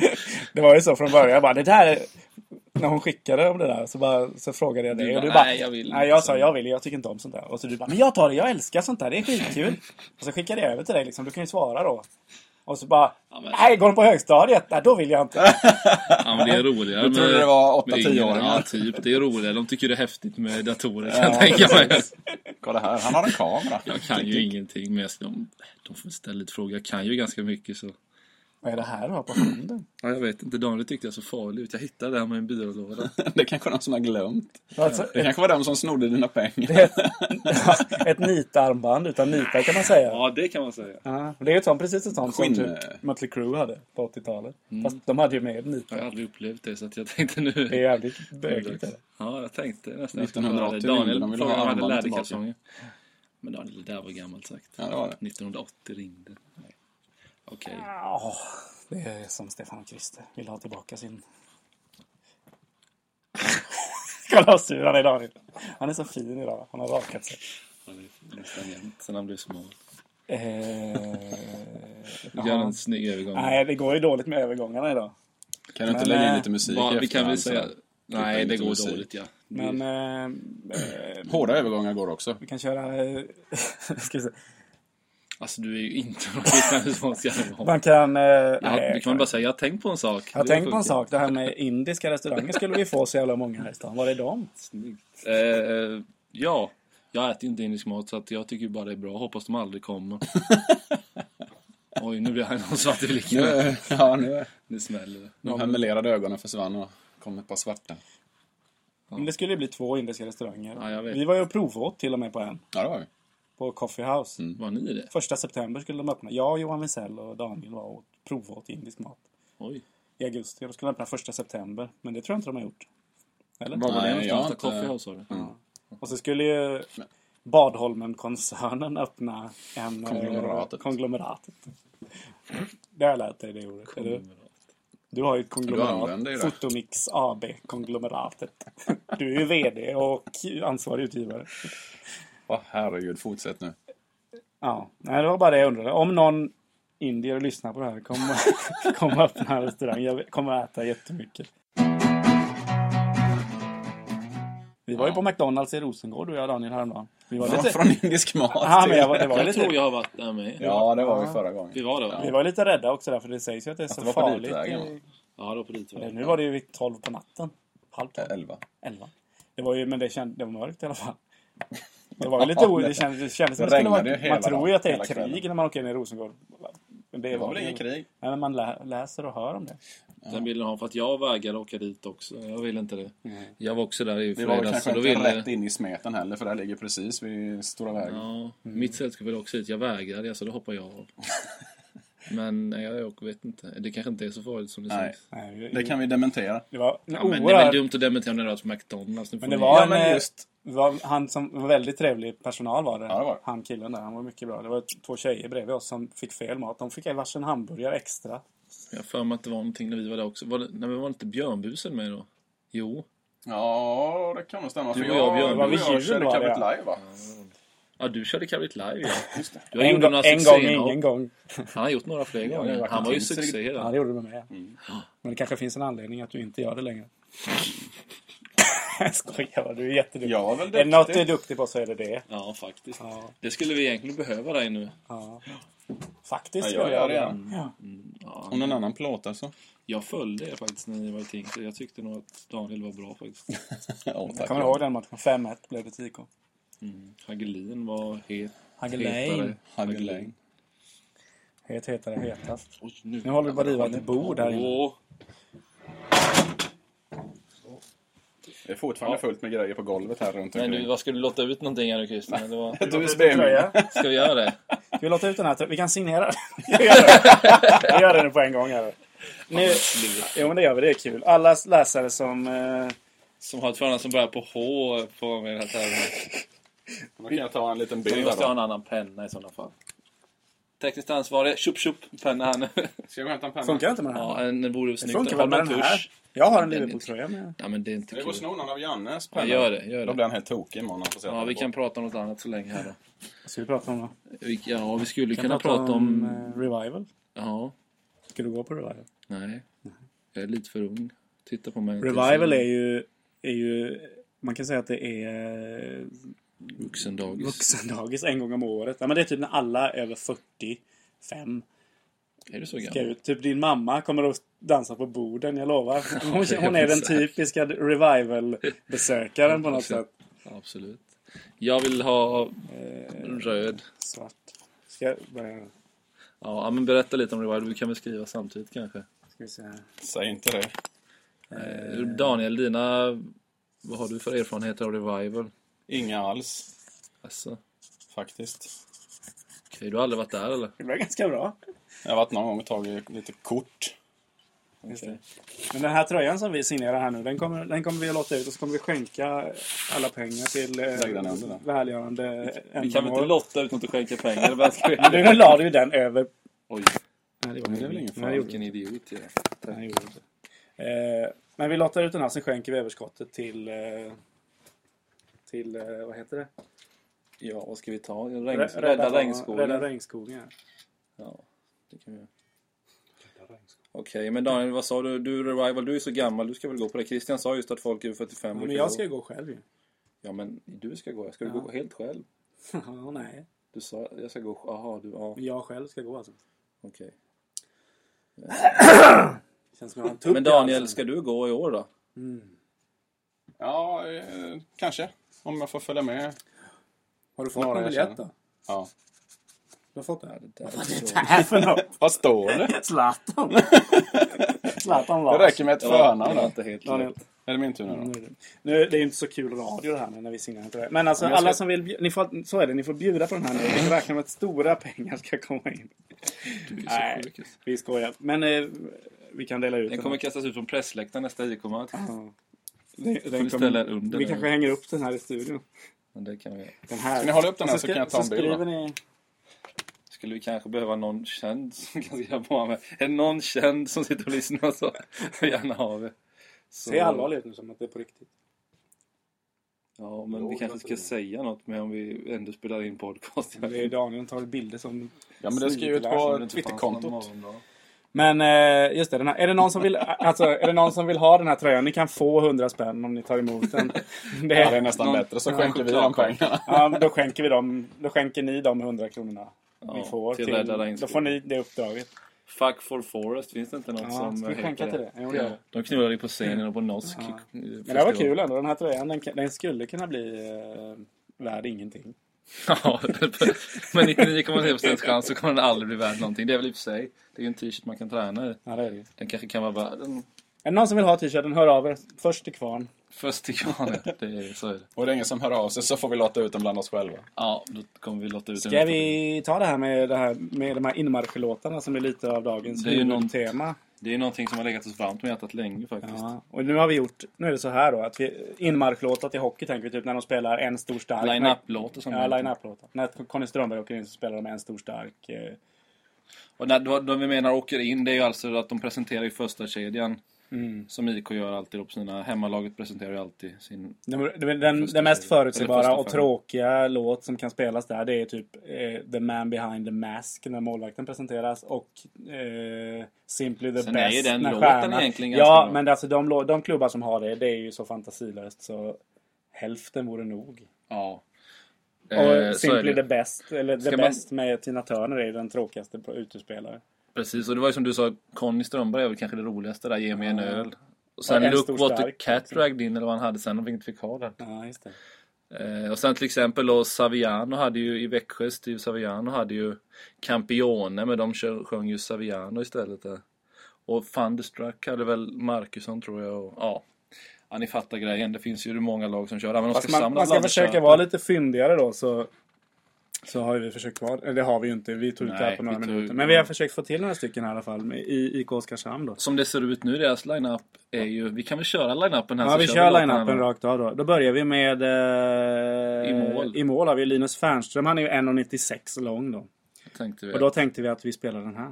Det var ju så från början. Jag bara, det där är... När hon skickade om det där så, bara, så frågade jag dig.
Du
Och du
bara,
bara,
"Nej, jag vill liksom."
Nej, jag
inte."
sa jag vill, jag tycker inte om sånt där. Och så du bara, men jag tar det, jag älskar sånt där, det är skitkul. och så skickade jag över till dig liksom, du kan ju svara då. Och så bara,
men-
nej, går de på högstadiet? Nej, då vill jag inte.
ja, men det är roligare
Du trodde
med-
det var åtta,
med yngre.
tioåringar.
Ja, typ. Det är roligare. De tycker det är häftigt med datorer. kan jag tänka mig.
Kolla här, han har en kamera.
Jag kan ju ingenting, men jag ska, de får ställa lite frågor. Jag kan ju ganska mycket så.
Vad är det här du har på handen?
Ja, jag vet inte. Daniel tyckte jag så farlig ut. Jag hittade det här med en byrålåda.
Det kanske är någon som har glömt.
Alltså,
Det kanske var de som snodde dina pengar.
ett, ett nitarmband utan nitar kan man säga.
Ja, det kan man säga.
Ja. Det är ju ett sånt, precis ett sånt som
Skinn-
typ Mötley Crüe hade på 80-talet.
Mm.
Fast de hade ju med
Jag har
nitar.
aldrig upplevt det, så att jag tänkte
Det är
nu...
jävligt bögigt. eller?
Ja, jag tänkte nästan...
1980
Daniel
ringde, de ville ha
frågade om jag hade
armbandet
läderkalsonger. Men Daniel, det där var gammalt sagt.
Ja, det var det.
1980 ringde. Nej. Okej.
Ja, det är som Stefan och Christer. Vill ha tillbaka sin... Kolla vad sur han är idag. Han är så fin idag. Han har rakat sig.
Han är nästan jämnt sen han blev smal.
Eh,
Gör en snygg övergång.
Nej, det går ju dåligt med övergångarna idag.
Kan du inte
Men,
lägga in
eh,
lite musik
Vad-
i
vi
efterhand
kan väl
så
säga...
här?
Nej,
Utan
det
lite
går
musik.
dåligt ja.
Men eh, eh,
Hårda övergångar går också.
vi kan köra... Eh, ska vi se.
Alltså du är ju inte någon liknande som ska det vara.
Man kan... Eh,
Ja, du
nej,
kan väl bara säga jag har tänkt på en sak.
jag har
Det
tänkt på en
funkar.
sak. Det här med indiska restauranger skulle vi få så jävla många här i stan. Var är de?
Snyggt. Eh, eh, ja, jag äter ju inte indisk mat så att jag tycker ju bara det är bra. Hoppas de aldrig kommer. Oj, nu blir jag någon svart i blicken.
Nu, ja, nu.
Nu smäller det.
De här melerade ögonen försvann och kom ett par svarta.
Men det skulle ju bli två indiska restauranger.
Ja, jag vet.
vi var ju och provåt till och med på en.
Ja, det var vi.
På Coffee House.
Var ni det?
Första september skulle de öppna. Jag, Johan Wiesel och Daniel var och provåt indisk mat.
Oj.
I augusti. De skulle öppna första september. Men det tror jag inte de har gjort. Eller?
Var var det
Nej,
någonstans?
jag
Där
har inte- Mm.
Coffee House var det?
Och så skulle ju Badholmen-koncernen öppna en... eh,
Konglomeratet.
konglomeratet. Det har jag lärt dig det ordet. Eller? Du har ju ett
Du använder ju
konglomerat.
det.
Fotomix AB, konglomeratet. Du är ju VD och ansvarig utgivare.
Åh herregud, fortsätt nu.
Ja, nej, det var bara det jag undrade. Om någon indier lyssnar på det här, kom, kom och öppna en restaurang. Jag kommer äta jättemycket. Vi var ju
Ja.
på McDonalds i Rosengård, du och jag Daniel häromdagen. Vi var
Från,
lite...
från indisk mat
Ja, men jag var,
till-
det var ju
Jag tror
lite...
jag har varit där med.
Ja, det var vi förra gången.
Vi var det va?
Vi var lite rädda också där, för det sägs ju att det är så
det var på
farligt.
ditvägen,
i-
Ja, det var på dit va?
Nu var det ju vid 12 på natten. Halv 12.
Elva.
Elva. Det var ju, men det, känd, det var mörkt i alla fall. Det var ju lite o... Det kändes, det kändes som
Det
det skulle
regnade ju
vara...
hela
Man tror ju att det är
dagen, hela
krig
kvällen.
när man åker ner i Rosengård. Men det,
Det var väl inget krig?
Nej, men man lä- läser och hör om det.
Den bilden har för att jag vägrade åka dit också. Jag ville inte det. Jag var också där i
Vi Mm. var väl
fredags.
kanske
och då
inte
ville...
rätt in i smeten heller, för det här ligger precis vid stora vägen.
Ja, mitt sällskap ville också dit. Jag vägrade, så då hoppade jag av. Men nej, jag vet inte. Det kanske inte är så farligt som det
Nej.
sägs.
Nej,
Det kan vi dementera.
det var en
Ja, men det är väl
oerhörd...
dumt att dementera när det var på McDonalds. Nu får
Men det
ni-
var
Ja,
en...
men
eh,
just-
det var han som var väldigt trevlig personal var det.
Ja, det var det.
Han killen där, han var mycket bra. Det var två tjejer bredvid oss som fick fel mat. De fick varsin hamburgare extra.
Jag har för mig att det var någonting när vi var där också. Var det, nej, men var inte Björnbusen med då? Jo.
Ja, det kan nog stämma.
Du och jag, Björn,
du
var
och
vi
jag
julen
körde
var det,
Cabrit
ja.
Live va?
Ja, du körde Cabrit Live. Ja.
Just det.
Du har
en
gjort
gång,
några
en gång,
succéer.
ingen gång.
Han har gjort några fler
Ja,
gånger.
jag
Han var ju
kan inte
succé.
riktigt-
Ja,
Ja.
det gjorde du med mig.
Mm.
Men det kanske finns en anledning att du inte gör det längre. Jag skojar bara, du är jätteduktig.
Jag var väl
Är det något du är
duktig.
duktig på så är det det.
ja, faktiskt.
Ja.
Det skulle vi egentligen behöva dig nu.
Ja.
Ja, jag
Faktiskt skulle
gör
jag
det
göra. Ja.
Ja,
Och någon annan plåt alltså?
jag följde er faktiskt när ni var i Tingsryd. Jag tyckte nog att Daniel var bra faktiskt.
Ja,
Jag kommer ihåg den matchen. 5-1 blev det till IK.
Hagelin var het.
Hagelin.
hetare.
Hagelin.
Het hetare
Mm.
hetast.
Oj, nu.
Nu håller vi på att riva ett bord här inne.
Åh,
Det är fortfarande fullt med grejer på golvet här runt
nej, nu,
omkring.
vad ska du låta ut någonting här nu Christian? Det var...
Ett USB-minne.
Tröja.
Ska vi göra det?
Ska vi låta ut den här? Vi kan signera den. Vi gör det. Vi gör det nu på en gång. Här. Nu, jo, men det gör vi. Det är kul. Alla läsare som... Eh,
Som har ett förnamn som börjar på H på med den här termen.
Då kan jag ta en liten
Vi
bild här
måste ha en
då.
annan penna i sådana fall. Tekniskt ansvarig. Tjup tjup penna här nu.
Ska jag hämta en penna?
funkar inte med den här?
Ja, en, en borde
det
snyggt.
funkar
Har
väl med
du en
den här?
tusch?
Jag har en
Den är-
Liverpool-tröja med.
Ja, men det är inte
Det går att
kul.
sno någon av Jannes
Ja,
pennor.
gör det, gör
Då
det.
blir han helt tokig imorgon. när han får se att
Ja,
han
vi
har
kan
fått-
prata om något annat så länge här då.
Vad ska vi prata om då?
Vi- Ja, vi skulle
Vi
kunna prata om...
eh, Revival.
Ja,
Ska du gå på Revival?
nej. Jag är lite för ung. Titta på mig.
Revival är ju... Är ju man kan säga att det är eh,
Vuxendagis.
vuxendagis en gång om året. Ja, men det är typ när alla över 45
Är du så
Ska
gammal?
ut. Typ din mamma kommer att dansa på borden, jag lovar. Hon, hon är den typiska revival-besökaren på något sätt.
Ja, absolut. Jag vill ha röd.
Eh, Svart. Ska, jag börja,
Ja, men berätta lite om Revival. Vi kan väl skriva samtidigt kanske.
ska vi se här.
Säg inte det.
Eh, Daniel, dina... Vad har du för erfarenheter av Revival?
Inga alls,
Alltså,
faktiskt.
okej, du har aldrig varit där eller?
Det var ganska bra.
Jag har varit någon gång och tagit lite kort.
Just det. Men den här tröjan som vi signerar här nu, den kommer, den kommer vi att låta ut och så kommer vi skänka alla pengar till eh,
Lägg den under där.
välgörande
Vi kan väl inte
ändamål.
lotta ut något att skänka pengar? Vad ska vi-
Du, nu la du ju den över...
Oj,
Nej, det
Det är väl ingen
Nej, det
fara.
gjorde
vilken idiot jag är.
Nej, det gjorde inte. Eh, men vi lottar ut den här, sen skänker vi överskottet till... Eh, till, eh, vad heter det?
Ja, vad ska vi ta? Regn...
Rä-
Rädda, rädda regnskogen.
Rädda regnskogen.
Ja, det kan vi göra. Okej, men Daniel, vad sa du? Du Revival, du är så gammal, du ska väl gå på det? Christian sa just att folk över 45
Ja,
brukar
men jag
gå.
ska ju gå själv ju.
Ja, men du ska gå. Ska du
Ja.
gå helt själv?
Ja, nej.
Du sa, jag ska gå... Jaha, du... Ja,
Men jag själv ska gå alltså.
okej.
Känns som jag har en tupp i
Men
halsen. Mm.
Daniel, ska du gå i år då?
Ja, eh, kanske. Om jag får följa med.
Har du fått
Några
någon
jag
biljett då? Du
Ja.
har fått det?
Det där är så-
Nej, för något.
Vad står det?
Zlatan. Zlatan
Det
Lars.
räcker med ett förnamn.
det var
då.
inte helt
Daniel.
lätt.
Är det min tur nu
Nu
då?
är det- Nu, det är ju inte så kul radio det här nu när vi signerar inte det. Men alltså
Men jag ska-
alla som vill, bju- ni får, så är det, ni får bjuda på den här nu. Vi räknar med att stora pengar ska komma in. Nej,
sjuk.
vi skojar. Men eh, vi kan dela ut
Den
den.
kommer
här.
kastas ut från pressläktaren nästa IK-match.
Ja. Den- den
vi
kommer-
ställa under
Vi
den?
kanske hänger upp den här i studion.
Men det kan vi
Den här.
Ska ni hålla upp den här
Och
så kan jag ta en bild, va?
skriver ni...
Skulle vi kanske behöva någon känd som kan skriva på med. Är det någon känd som sitter och lyssnar så gärna av er. Så-
Se allvarligt ut nu som att det är på riktigt.
Ja, men vi
Jo,
kanske ska
det.
säga något med om vi ändå spelar in podcast.
Det är Daniel som tar bilder som...
Ja, men det ska ju ut på Twitterkontot.
Men eh, just det, den här, är, det någon som vill, alltså, är det någon som vill ha den här tröjan? Ni kan få 100 spänn om ni tar emot den. Det
Ja, det är
är,
nästan
Någon-
bättre. Så
någon
skänker vi de
chokladkaka.
pengarna.
ja, då, skänker vi dem, då skänker ni de 100 kronorna.
Ja,
vi får
till
till,
Rädda
då
Regnskogen.
får ni det uppdraget.
Fuck for Forest, finns det inte något
Ja,
som eh,
ska vi
heter
skänka
det?
till det? Jo, det gör vi.
De knullade ju på scenen och på eh, Nosk.
Men det här var kul ändå. Den här tröjan den, kan- den skulle kunna bli eh, värd ingenting.
Ja, med 99,3% chans så kommer den aldrig bli värd någonting. Det är väl i och för sig. Det är ju en t-shirt man kan träna i.
Ja, det är det. ju.
Den kanske kan vara värd en
Är det någon som vill ha t-shirten, hör av er. Först till kvarn.
Först till kvarnen. Det är, så är det.
Och det är ingen som hör av sig så får vi låta ut dem bland oss själva.
Ja, då kommer vi låta ut en
Ska
liten-
vi ta det här med, det här, med de här inmarschlåtarna som är lite av dagens
Det är ju någon-
huvudtema?
Det är någonting som har legat oss varmt om hjärtat länge faktiskt.
Ja, och nu har vi gjort, nu är det så här då att vi, inmarschlåtar till hockey tänker vi typ när de spelar en stor stark.
Line-up-låtar som
Ja, line-up-låtar. När Conny Strömberg åker in så spelar de en stor stark. eh,
Och när, då, då vi menar åker in, det är ju alltså att de presenterar ju första kedjan
Mm.
Som IK gör alltid då på sina... Hemmalaget presenterar ju alltid sin...
Den, den, den,
Första
den mest
serien. Eller
förutsägbara
första
och
fem.
tråkiga låt som kan spelas där det är typ eh, The Man Behind the Mask när målvakten presenteras och eh, Simply the
Sen är
Best
ju den
när
låten
stjärnan-
egentligen ganska
Ja,
bra.
men alltså de, lå- de klubbar som har det, det är ju så fantasilöst så hälften vore nog.
Ja.
Och
Eh, så är
Simply
det.
the Best, eller The
Ska man-
Best med Tina Turner är ju den tråkigaste på- utespelare.
Precis, och det var ju som du sa, Conny Strömberg är väl kanske det roligaste där, ge mig en
Ja.
öl. Och
Och
sen
en
Look
stor
What the
stark
Cat
också.
Dragged In eller vad han hade sen, de inte fick ha den.
Ja, just det.
Eh, och sen till exempel då Saviano hade ju i Växjö, Steve Saviano hade ju Campione, men de kör, sjöng ju Saviano istället där. Och Thunderstruck hade väl Marcusson tror jag och ja. Ja, ni fattar grejen. Det finns ju många lag som kör. Även
Fast man, man ska försöka vara lite fyndigare då så, så har vi försökt vara Eller det har vi ju inte. Vi tog ut det här
Nej,
på några
vi tog-
minuter. Men vi har försökt få till några stycken här i alla fall med- i IK Oskarshamn då.
Som det ser ut nu, deras line-up är ju... Vi kan väl köra line-upen här?
Ja,
så
vi
kör
kör
låtarna
line-upen
då.
rakt av då. Då börjar vi med... Eh,
I mål.
I mål har vi Linus Fernström. Han är ju 1,96 lång då.
Tänkte vi.
Och då tänkte vi att vi spelar den här.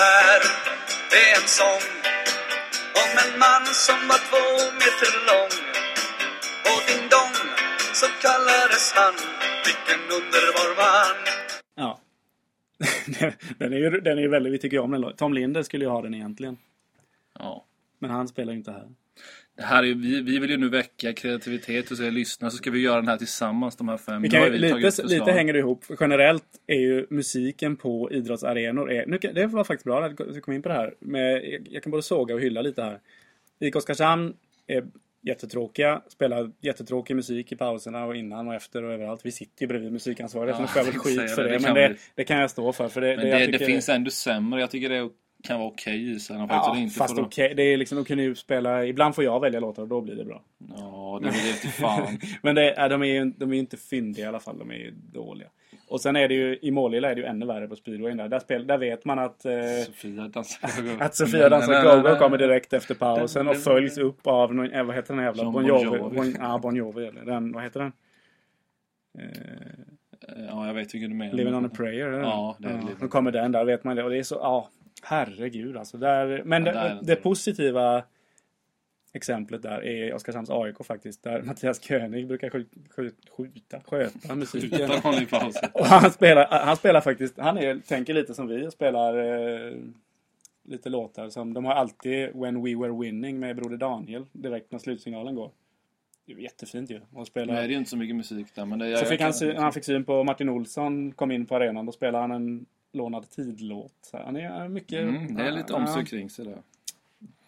Här är en sång om en man som var två meter lång och Ding Dong så kallades han. Vilken underbar man!
Ja. den är ju den är ju väldigt... Vi tycker ju om den. låten. Tom Linder skulle ju ha den egentligen.
Ja.
Men han spelar ju inte här.
Det här är, ju- vi, vi vill ju nu väcka kreativitet hos er lyssnare så ska vi göra den här tillsammans de här fem.
Vi
Nu
kan,
har
ju-
tagit
lite,
förslag.
lite hänger det ihop. Generellt är ju musiken på idrottsarenor... Är, nu, kan- det var faktiskt bra att du kom in på det här. Men jag, jag kan både såga och hylla lite här. IK Oskarshamn är jättetråkiga. Spelar jättetråkig musik i pauserna och innan och efter och överallt. Vi sitter ju bredvid musikansvariga
Ja,
så de ska väl
jag tänkte
skit
säga
för
det.
det.
Det
men
kan
det,
vi-
det kan jag stå för. för det,
Men
det,
det,
jag
det
tycker-
finns ändå sämre. Jag tycker det kan vara okej i sen.
Ja,
Ja, inte
fast
får-
okej. Det är liksom, de kunde ju spela... Ibland får jag välja låtar och då blir det bra.
Ja, det blir det till fan.
Men det, är- de är ju de är ju inte fyndiga i alla fall. De är ju dåliga. Och sen är det ju, i Målilla är det ju ännu värre på speedwayen där. Där, spel, där vet man att, eh,
Sofia dansar go-go.
att Sofia dansar go-go kommer direkt efter pausen och följs upp av någon, eh, vad heter den här jävla,
John
Bon
Bon
Jovi.
Jovi.
Bon, ja, Bon Jovi. eller Den, vad heter den?
Ja, jag vet vilken du menar.
Living on a prayer? eller?
Ja, det är Living on
Då
a
kommer den där, vet man det. Och det är så, ja, herregud alltså. Där, men
Ja, där är
det,
den
det
stor.
positiva exemplet där är Oskarshamns AIK faktiskt. Där Mattias König brukar skj, skj, skjuta, sköta musiken.
Utan håll i pausen.
Och han spelar, han spelar faktiskt, han är, tänker lite som vi och spelar eh, lite låtar som, de har alltid When We Were Winning med Broder Daniel direkt när slutsignalen går. Det är ju jättefint ju. Och
Nu är
spelar.
det ju inte så mycket musik där. Men det,
Så
jag-
fick
jag
han,
kan-
sy- han fick syn på Martin Olsson, kom in på arenan, då spelade han en lånad tidlåt. Så Han är eh, mycket...
Mm, det är lite
ja,
omsorg kring sig där.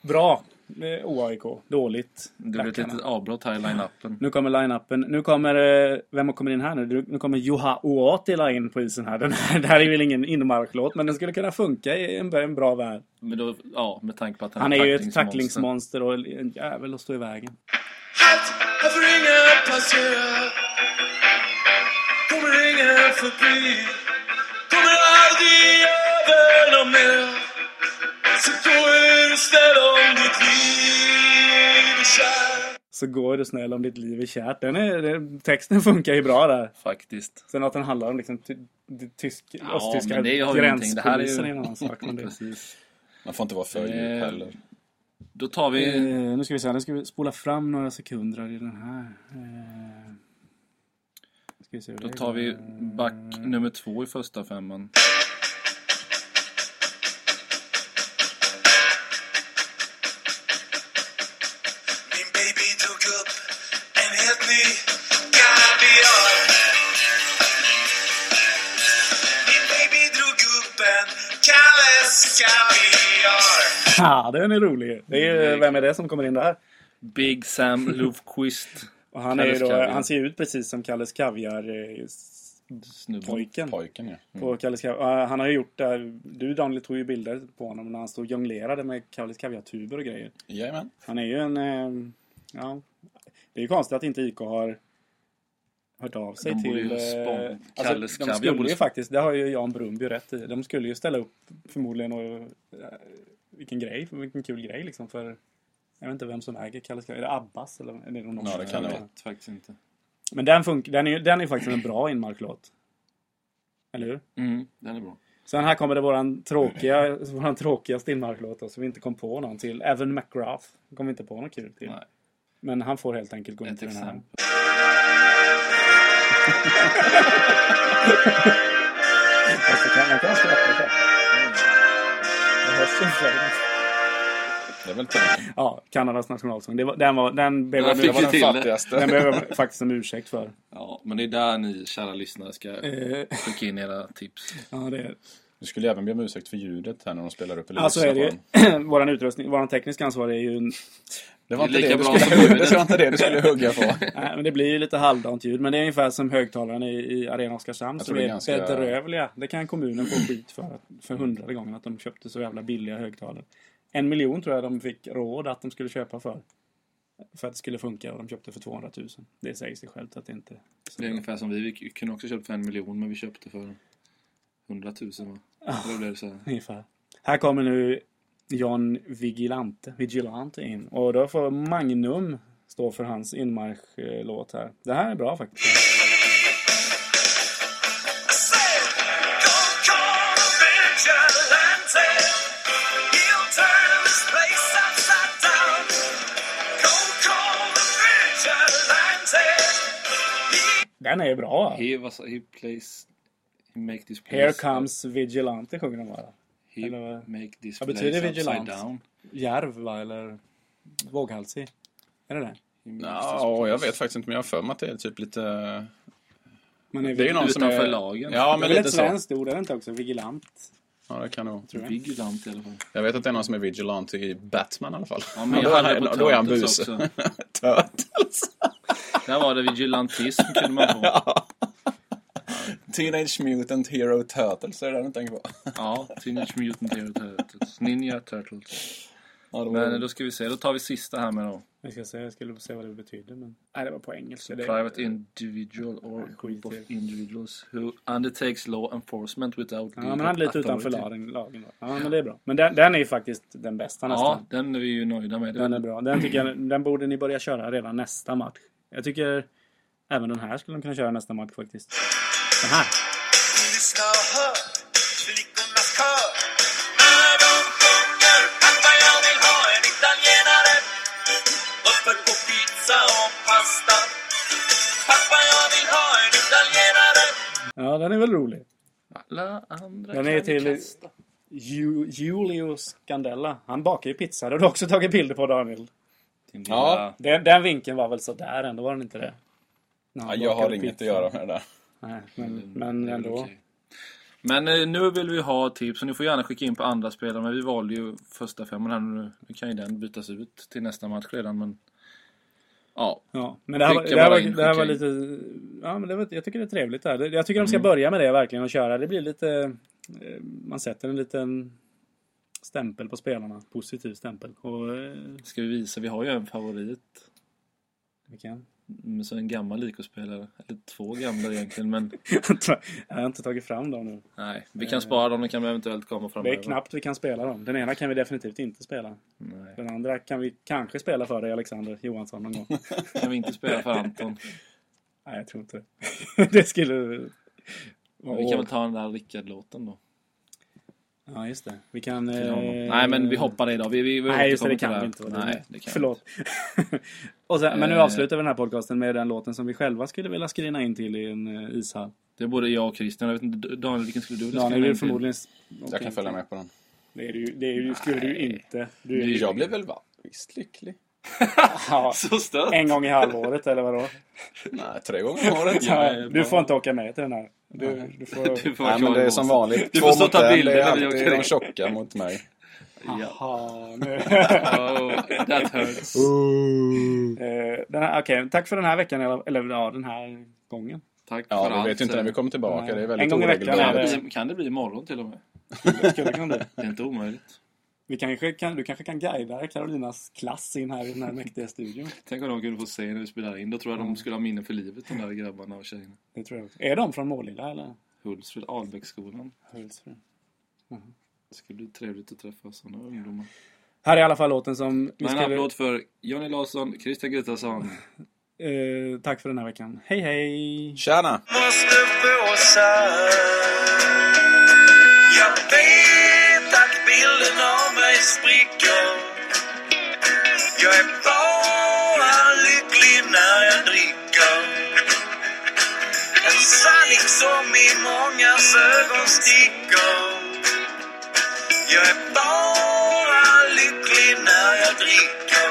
Bra! Eh, OAIK. Dåligt.
Det blir ett
Rackarna.
litet avbrott här i line-upen.
Nu kommer line-upen. Nu kommer... eh, Vem kommer in här nu? Nu kommer Juha Uotila in på isen här. Den här det här är väl ingen inmarschlåt, men den skulle kunna funka i en, en bra värld.
Men då, ja, med tanke på att han,
Han är ju ett tacklingsmonster och en jävel att stå i vägen.
Allt här får ingen passera Kommer ingen förbi Kommer aldrig över någon mera Så gå ur och ställ om ditt liv, kär
Så går du snäll om ditt liv är kärt. Den är, den, texten funkar ju bra där.
Faktiskt.
Sen att den handlar om liksom ty, ty, tysk, östtyska
men det har ju ingenting. Det här är ju-
gränspolisen är en annan sak. Men det,
Precis.
Man får inte vara för djup
Eh,
heller.
Då tar vi...
Eh, nu ska vi se, här. nu ska vi spola fram några sekunder i den här. Eh, ska vi se hur
Då
det
tar
går.
vi back nummer två i första femman.
Min baby tog upp en helt ny kaviar Min baby drog upp en Kalles kaviar
Ja, den är rolig. Det är ju,
Mm.
vem är det som kommer in där?
Big Sam Lofquist.
Och han, är ju
Kalles
då,
Kaviar.
han ser ju ut precis som Kalles Kaviar. eh, s-
Snubben.
pojken.
Pojken ja.
På Kalles Kaviar. Eh, Han har ju gjort det. Du Daniel tog ju bilder på honom när han stod och jonglerade med Kalles Kaviar-tuber och grejer.
Jajamän.
Han är ju en... eh, Ja, det är ju konstigt att inte IK har hört av sig
De borde ju
till... eh,
spon- Kalles
alltså, de
Kaviar
skulle
borde
ju
sp-
faktiskt, det har ju Jan Brumby rätt i. De skulle ju ställa upp förmodligen och... eh, Vilken grej, vilken kul grej liksom för... Jag vet inte vem som äger Kalles Kaviar. Är det Abbas eller är det någon norsk?
Ja, det kan det
Jag
vara.
vet faktiskt inte.
Men den, funkar, den, är, ju- den är faktiskt en bra inmarklåt. Eller hur?
Mm, den är bra.
Sen här kommer det våran tråkiga, våran tråkigaste inmarklåt då, som vi inte kom på någon till. Evan McGrath. Kom inte på något kul till.
Nej.
Men han får helt enkelt gå in
Ett
till den här.
exempel.
Fast det kan- Man kan skratta så. Det hörs ju för sig.
Det är väl tanken.
Ja, Kanadas nationalsång. Det var, den var, den
Ja,
behöver
Det
fick
var
vi
den
till det.
den
fattigaste.
behöver faktiskt en ursäkt för.
Ja, men det är där ni kära lyssnare ska
Eh,
skicka in era tips.
Ja, det är,
Du skulle även be om ursäkt för ljudet här när de spelar upp i
alltså
lyssnar
är det
på
ju,
den.
våran utrustning, våran tekniska ansvarig är ju en
Det var
Det
inte
är
det
lika
du
bra
skulle hugga,
som huvudet.
det var inte det du skulle hugga på.
Nej, men det blir ju lite halvdant ljud. Men det är ungefär som högtalaren i, i Arena Oskarshamn
Jag
som
tror
är
det är ganska-
bedrövliga. Det kan kommunen få skit för, att- för hundrade gången att de köpte så jävla billiga högtalare. En miljon tror jag de fick råd att de skulle köpa för. För att det skulle funka och de köpte för 200 000. Det säger sig självt att det inte...
Det är ungefär som vi. Vi kunde också köpt för en miljon, men vi köpte för 100 000 va? Eller blev det så här?
Ungefär. Här kommer nu John Vigilante, Vigilante in. Och då får Magnum stå för hans inmarschlåt här. Det här är bra faktiskt. Den är bra.
He, was, he plays... He make this place...
Here comes vigilante sjunger de bara.
He
eller vad-
make this
Vad
place
betyder
upside
vigilant?
down.
Järv va, eller våghalsig? Är det det?
He makes this-
Ja, jag vet faktiskt inte, men jag har för mig att det är typ lite...
Man är,
Det är ju någon som
Utanför
är...
lagen.
Ja,
det är
men
väl
lite
ett
så.
svenskt ord, är det inte också? Vigilant?
Ja, det kan det vara.
Vigilant i alla fall.
Jag vet att det är någon som är vigilant i Batman i alla fall.
Ja, men jag
då,
hade
är,
det på
då är han
Turtles
busig.
också.
Turtles.
Där var det vigilantism kunde man få.
Teenage Mutant Hero Turtles är det där du tänker på.
Ja, Teenage Mutant Hero Turtles. Ninja Turtles.
Ja, det var-
Men då ska vi se, då tar vi sista här med då.
Jag ska säga, jag skulle se vad det betyder men... Nej, det var på engelska. Det...
Private individual or group of individuals who undertakes law enforcement without
Ja,
legal
men han är lite utanför
authority.
lagen, lagen då. Ja, men det är bra. Men den, den är ju faktiskt den bästa
Ja,
nästan.
den är vi ju nöjda med.
Den är bra. Den tycker jag, den borde ni börja köra redan nästa match. Jag tycker även den här skulle de kunna köra nästa match faktiskt. Den här!
Lyssna och hör flickornas kör när de sjunger att vad jag vill ha en italienare Öppet på pizza och pasta Pappa, jag vill ha en italienare
Ja, den är väl rolig.
Alla andra
Den är
kan
till-
kasta.
Ju, Julio Scandella. Han bakar ju pizza. Det har du också tagit bilder på Daniel.
Din lilla-
Ja.
Den, den vinkeln var väl sådär ändå, var den inte det? När
ja,
han
jag har
bakade
inget
pizza.
att göra med det där.
Nej, men, men
Det är väl
ändå.
okej. Men eh, nu vill vi ha tips och ni får gärna skicka in på andra spelare men vi valde ju första femman här nu. Nu kan ju den bytas ut till nästa match redan men... Ja,
Ja, men det här, var-
Skicka
det här,
bara
var,
in,
det här var
skicka
lite... Ja, men det var, jag tycker det är trevligt det här. Det- Jag tycker
Mm.
de ska börja med det verkligen och köra. Det blir lite... eh, Man sätter en liten stämpel på spelarna. Positiv stämpel. Och... eh,
ska vi visa. Vi har ju en favorit.
Vilken?
Mm, Så en gammal Lykospelare. Eller två gamla egentligen, men
jag har inte tagit fram dem nu.
nej. Vi kan spara dem, de kan eventuellt komma
Eh. Det
framöver.
är knappt vi kan spela dem. Den ena kan vi definitivt inte spela.
Nej.
Den andra kan vi kanske spela för dig, Alexander Johansson, någon gång.
Kan vi inte spela för Anton?
Nej, jag tror inte det. det skulle...
Men Vi kan väl ta den där Rickard-låten då.
Ja, just det. Vi kan...
till honom.
eh,
Nej, men vi hoppar det idag. Vi, vi, vi
Nej, just det. Det
återkommer till
kan vi
här.
inte.
Nej, det kan vi
Förlåt. Och sen, men nu
Eh.
avslutar vi den här podcasten med den låten som vi själva skulle vilja skrina in till i en eh, ishall.
inte. Det borde jag och Christian. Jag vet inte, Daniel, vilken skulle du vilja
Daniel
skriva
vill
in
förmodligen...
till?
Jag kan följa med på den.
Det, är du, det är du, skulle du inte. Du är
Jag blir väl va? visst lycklig?
ja,
Så stört!
en gång i halvåret, eller vadå?
Nej, tre gånger om året.
Ja, ja,
Du
bra.
får inte åka med till den här. Du, du får...
Du får vara
Nej, men
kvar i
det är
båsen.
som vanligt.
Du
Två
får stå och
mot
ta
en, Det
bilder
är
när vi
alltid
åker
de
in.
tjocka mot mig.
Ja.
Jaha, nu...
Oh, that hurts.
Eh, den här- Okej, tack för den här veckan, eller, eller ja, den här gången.
Tack för
Ja,
allt.
vi vet ju inte när vi kommer tillbaka. Det är
En
väldigt
gång i veckan
Kan
oregelbundet.
det, bli, kan det bli imorgon till och med?
Skulle kunna bli.
Det är inte omöjligt.
Vi kanske kan, du kanske kan guida Karolinas klass in här i den här mäktiga studion.
Tänk om de kunde få se när vi spelar in. Då tror jag de skulle ha minnen för livet, de där grabbarna och tjejerna.
Det tror jag också. Är de från Målilla eller?
Hultsfred, Albäcksskolan.
Hultsfred.
Det skulle bli trevligt att träffa sådana ungdomar.
Här är i alla fall låten som vi
Men en
skrev.
applåd för Johnny Larsson, Christian Gustafsson.
Eh, tack för den här veckan. Hej hej!
Tjena!
måste blåsa Jag vet att bilden av mig spricker Jag är bara lycklig när jag dricker En sanning som i mångas ögon sticker Jag är bara lycklig när jag dricker